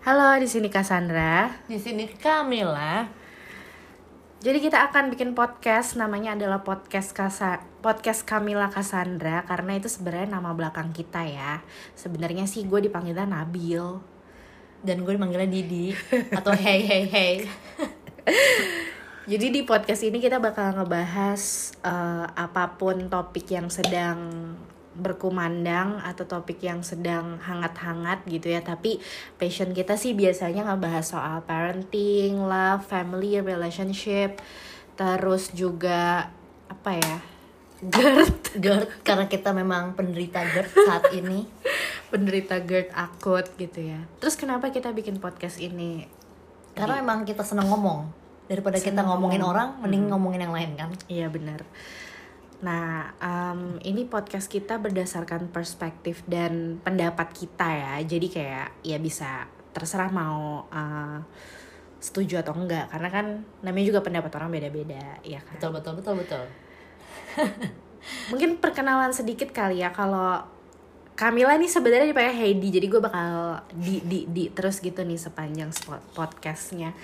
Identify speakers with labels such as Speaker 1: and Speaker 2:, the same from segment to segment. Speaker 1: Halo, di sini Cassandra.
Speaker 2: Di sini Kamila.
Speaker 1: Jadi kita akan bikin podcast namanya adalah podcast Kasa podcast Kamila Cassandra karena itu sebenarnya nama belakang kita ya. Sebenarnya sih gue dipanggilnya Nabil.
Speaker 2: Dan gue dipanggilnya Didi atau Hey Hey Hey.
Speaker 1: Jadi di podcast ini kita bakal ngebahas eh, apapun topik yang sedang berkumandang atau topik yang sedang hangat-hangat gitu ya. Tapi passion kita sih biasanya ngebahas soal parenting, love, family, relationship, terus juga apa ya? GERD,
Speaker 2: GERD karena kita memang penderita GERD saat ini.
Speaker 1: penderita GERD akut gitu ya. Terus kenapa kita bikin podcast ini?
Speaker 2: Karena memang kita seneng ngomong. Daripada kita ngomongin orang, mending ngomongin yang lain kan.
Speaker 1: Iya benar. Nah, em, ini podcast kita berdasarkan perspektif dan pendapat kita ya. Jadi kayak ya bisa terserah mau eh, setuju atau enggak karena kan namanya juga pendapat orang beda-beda ya kan.
Speaker 2: Betul betul betul betul.
Speaker 1: Mungkin perkenalan sedikit kali ya kalau Kamila nih sebenarnya dipakai Heidi jadi gue bakal di di di terus gitu nih sepanjang spot- podcastnya.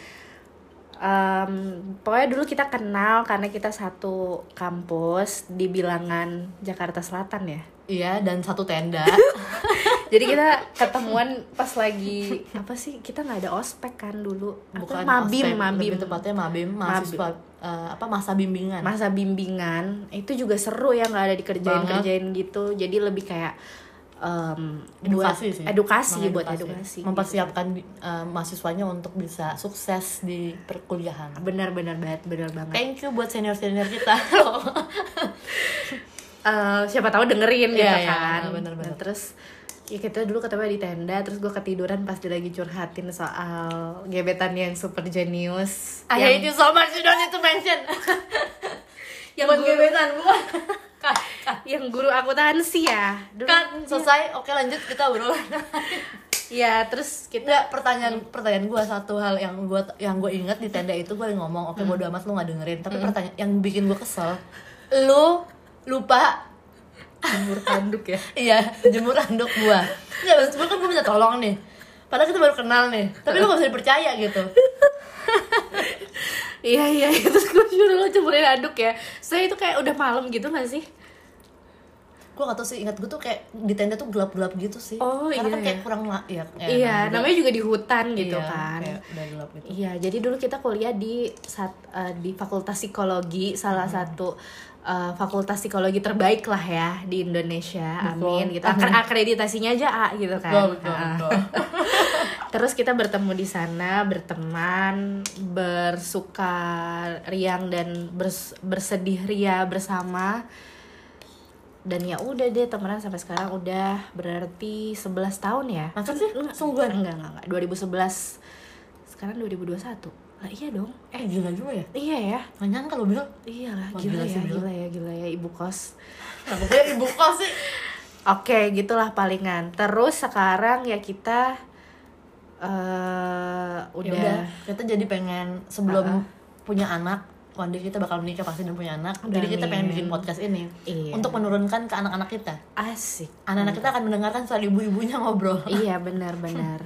Speaker 1: Em, pokoknya dulu kita kenal karena kita satu kampus di bilangan Jakarta Selatan ya.
Speaker 2: Iya, dan satu tenda.
Speaker 1: Jadi kita ketemuan pas lagi apa sih? Kita nggak ada ospek kan dulu. Apa? mabim,
Speaker 2: ospek,
Speaker 1: mabim.
Speaker 2: Lebih tepatnya mabim, mahasiswa eh, apa masa bimbingan.
Speaker 1: Masa bimbingan itu juga seru ya nggak ada dikerjain-kerjain gitu. Jadi lebih kayak em, buat
Speaker 2: edukasi sih.
Speaker 1: edukasi
Speaker 2: Mengedukasi.
Speaker 1: buat edukasi.
Speaker 2: Mempersiapkan eh, mahasiswanya untuk bisa sukses di perkuliahan.
Speaker 1: Iya. Benar-benar banget, benar banget.
Speaker 2: Thank you buat senior-senior kita.
Speaker 1: Eh, siapa tahu dengerin gitu
Speaker 2: Iya, iya,
Speaker 1: kan. Nah,
Speaker 2: benar-benar.
Speaker 1: terus ya kita dulu ketemu di tenda terus gue ketiduran pas dia lagi curhatin soal gebetan yang super jenius
Speaker 2: I hate you so much, you don't need to mention.
Speaker 1: yang
Speaker 2: buat
Speaker 1: guru- ah,
Speaker 2: gebetan, buat. Cut, cut,
Speaker 1: yang guru akuntansi ya dulu
Speaker 2: cut. Kan, Selesai, oke lanjut kita berulang.
Speaker 1: ya terus kita
Speaker 2: Enggak, pertanyaan pertanyaan gue satu hal yang gue yang gue inget di tenda itu gue ngomong oke bodo
Speaker 1: Hmm.
Speaker 2: amat lu nggak dengerin tapi pertanyaan yang bikin gue kesel lu lupa
Speaker 1: jemur tanduk ya
Speaker 2: iya jemur anduk gua ya sebelum kan gue minta tolong nih padahal kita baru kenal nih tapi lu gak bisa dipercaya gitu
Speaker 1: iya iya iya. terus gue suruh lo jemurin anduk ya saya itu kayak udah malam gitu gak sih
Speaker 2: gue gak tau sih ingat gue tuh kayak di tenda tuh gelap gelap gitu sih
Speaker 1: Oh,
Speaker 2: karena
Speaker 1: iya,
Speaker 2: kan kayak
Speaker 1: iya.
Speaker 2: kurang la- ya, ya,
Speaker 1: iya
Speaker 2: emang
Speaker 1: namanya juga di hutan
Speaker 2: udah-
Speaker 1: gitu
Speaker 2: iya,
Speaker 1: kan
Speaker 2: kayak udah gelap gitu
Speaker 1: iya jadi dulu kita kuliah di saat di fakultas psikologi salah
Speaker 2: Hmm.
Speaker 1: satu eh, fakultas psikologi terbaik lah ya di Indonesia amin gitu Akre- akreditasinya aja A gitu kan
Speaker 2: Betul, betul,
Speaker 1: Ah.
Speaker 2: betul.
Speaker 1: Terus kita bertemu di sana, berteman, bersuka riang dan bers- bersedih ria bersama. Dan ya udah deh temenan sampai sekarang udah berarti 11 tahun ya.
Speaker 2: Masa sih?
Speaker 1: Sungguh enggak enggak enggak 2011. Sekarang 2021. Lah iya dong.
Speaker 2: eh gila juga ya
Speaker 1: Iya ya.
Speaker 2: gak nyangka lo kan bilang
Speaker 1: Iya lah,
Speaker 2: Wah,
Speaker 1: gila,
Speaker 2: gila
Speaker 1: ya,
Speaker 2: sih, Bel.
Speaker 1: gila ya, gila ya ibu kos.
Speaker 2: kenapa gue Nah, ibu kos sih
Speaker 1: Oke, gitulah palingan. Terus sekarang ya kita eh
Speaker 2: ya
Speaker 1: udah
Speaker 2: udah kita jadi pengen sebelum punya anak one day kita bakal menikah pasti dan punya anak jadi kita
Speaker 1: Amin.
Speaker 2: pengen bikin podcast ini
Speaker 1: Iya.
Speaker 2: untuk menurunkan ke anak-anak kita
Speaker 1: Asik.
Speaker 2: anak-anak kita akan mendengarkan soal ibu-ibunya ngobrol
Speaker 1: iya benar-benar.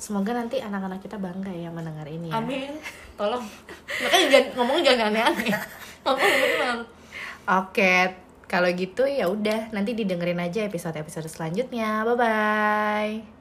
Speaker 1: Semoga nanti anak-anak kita bangga ya mendengar ini. Ya.
Speaker 2: Amin, tolong. Makanya jangan ngomongnya jangan aneh-aneh. Ngomong bener.
Speaker 1: Oke, kalau gitu ya udah nanti didengerin aja episode-episode selanjutnya. Bye bye.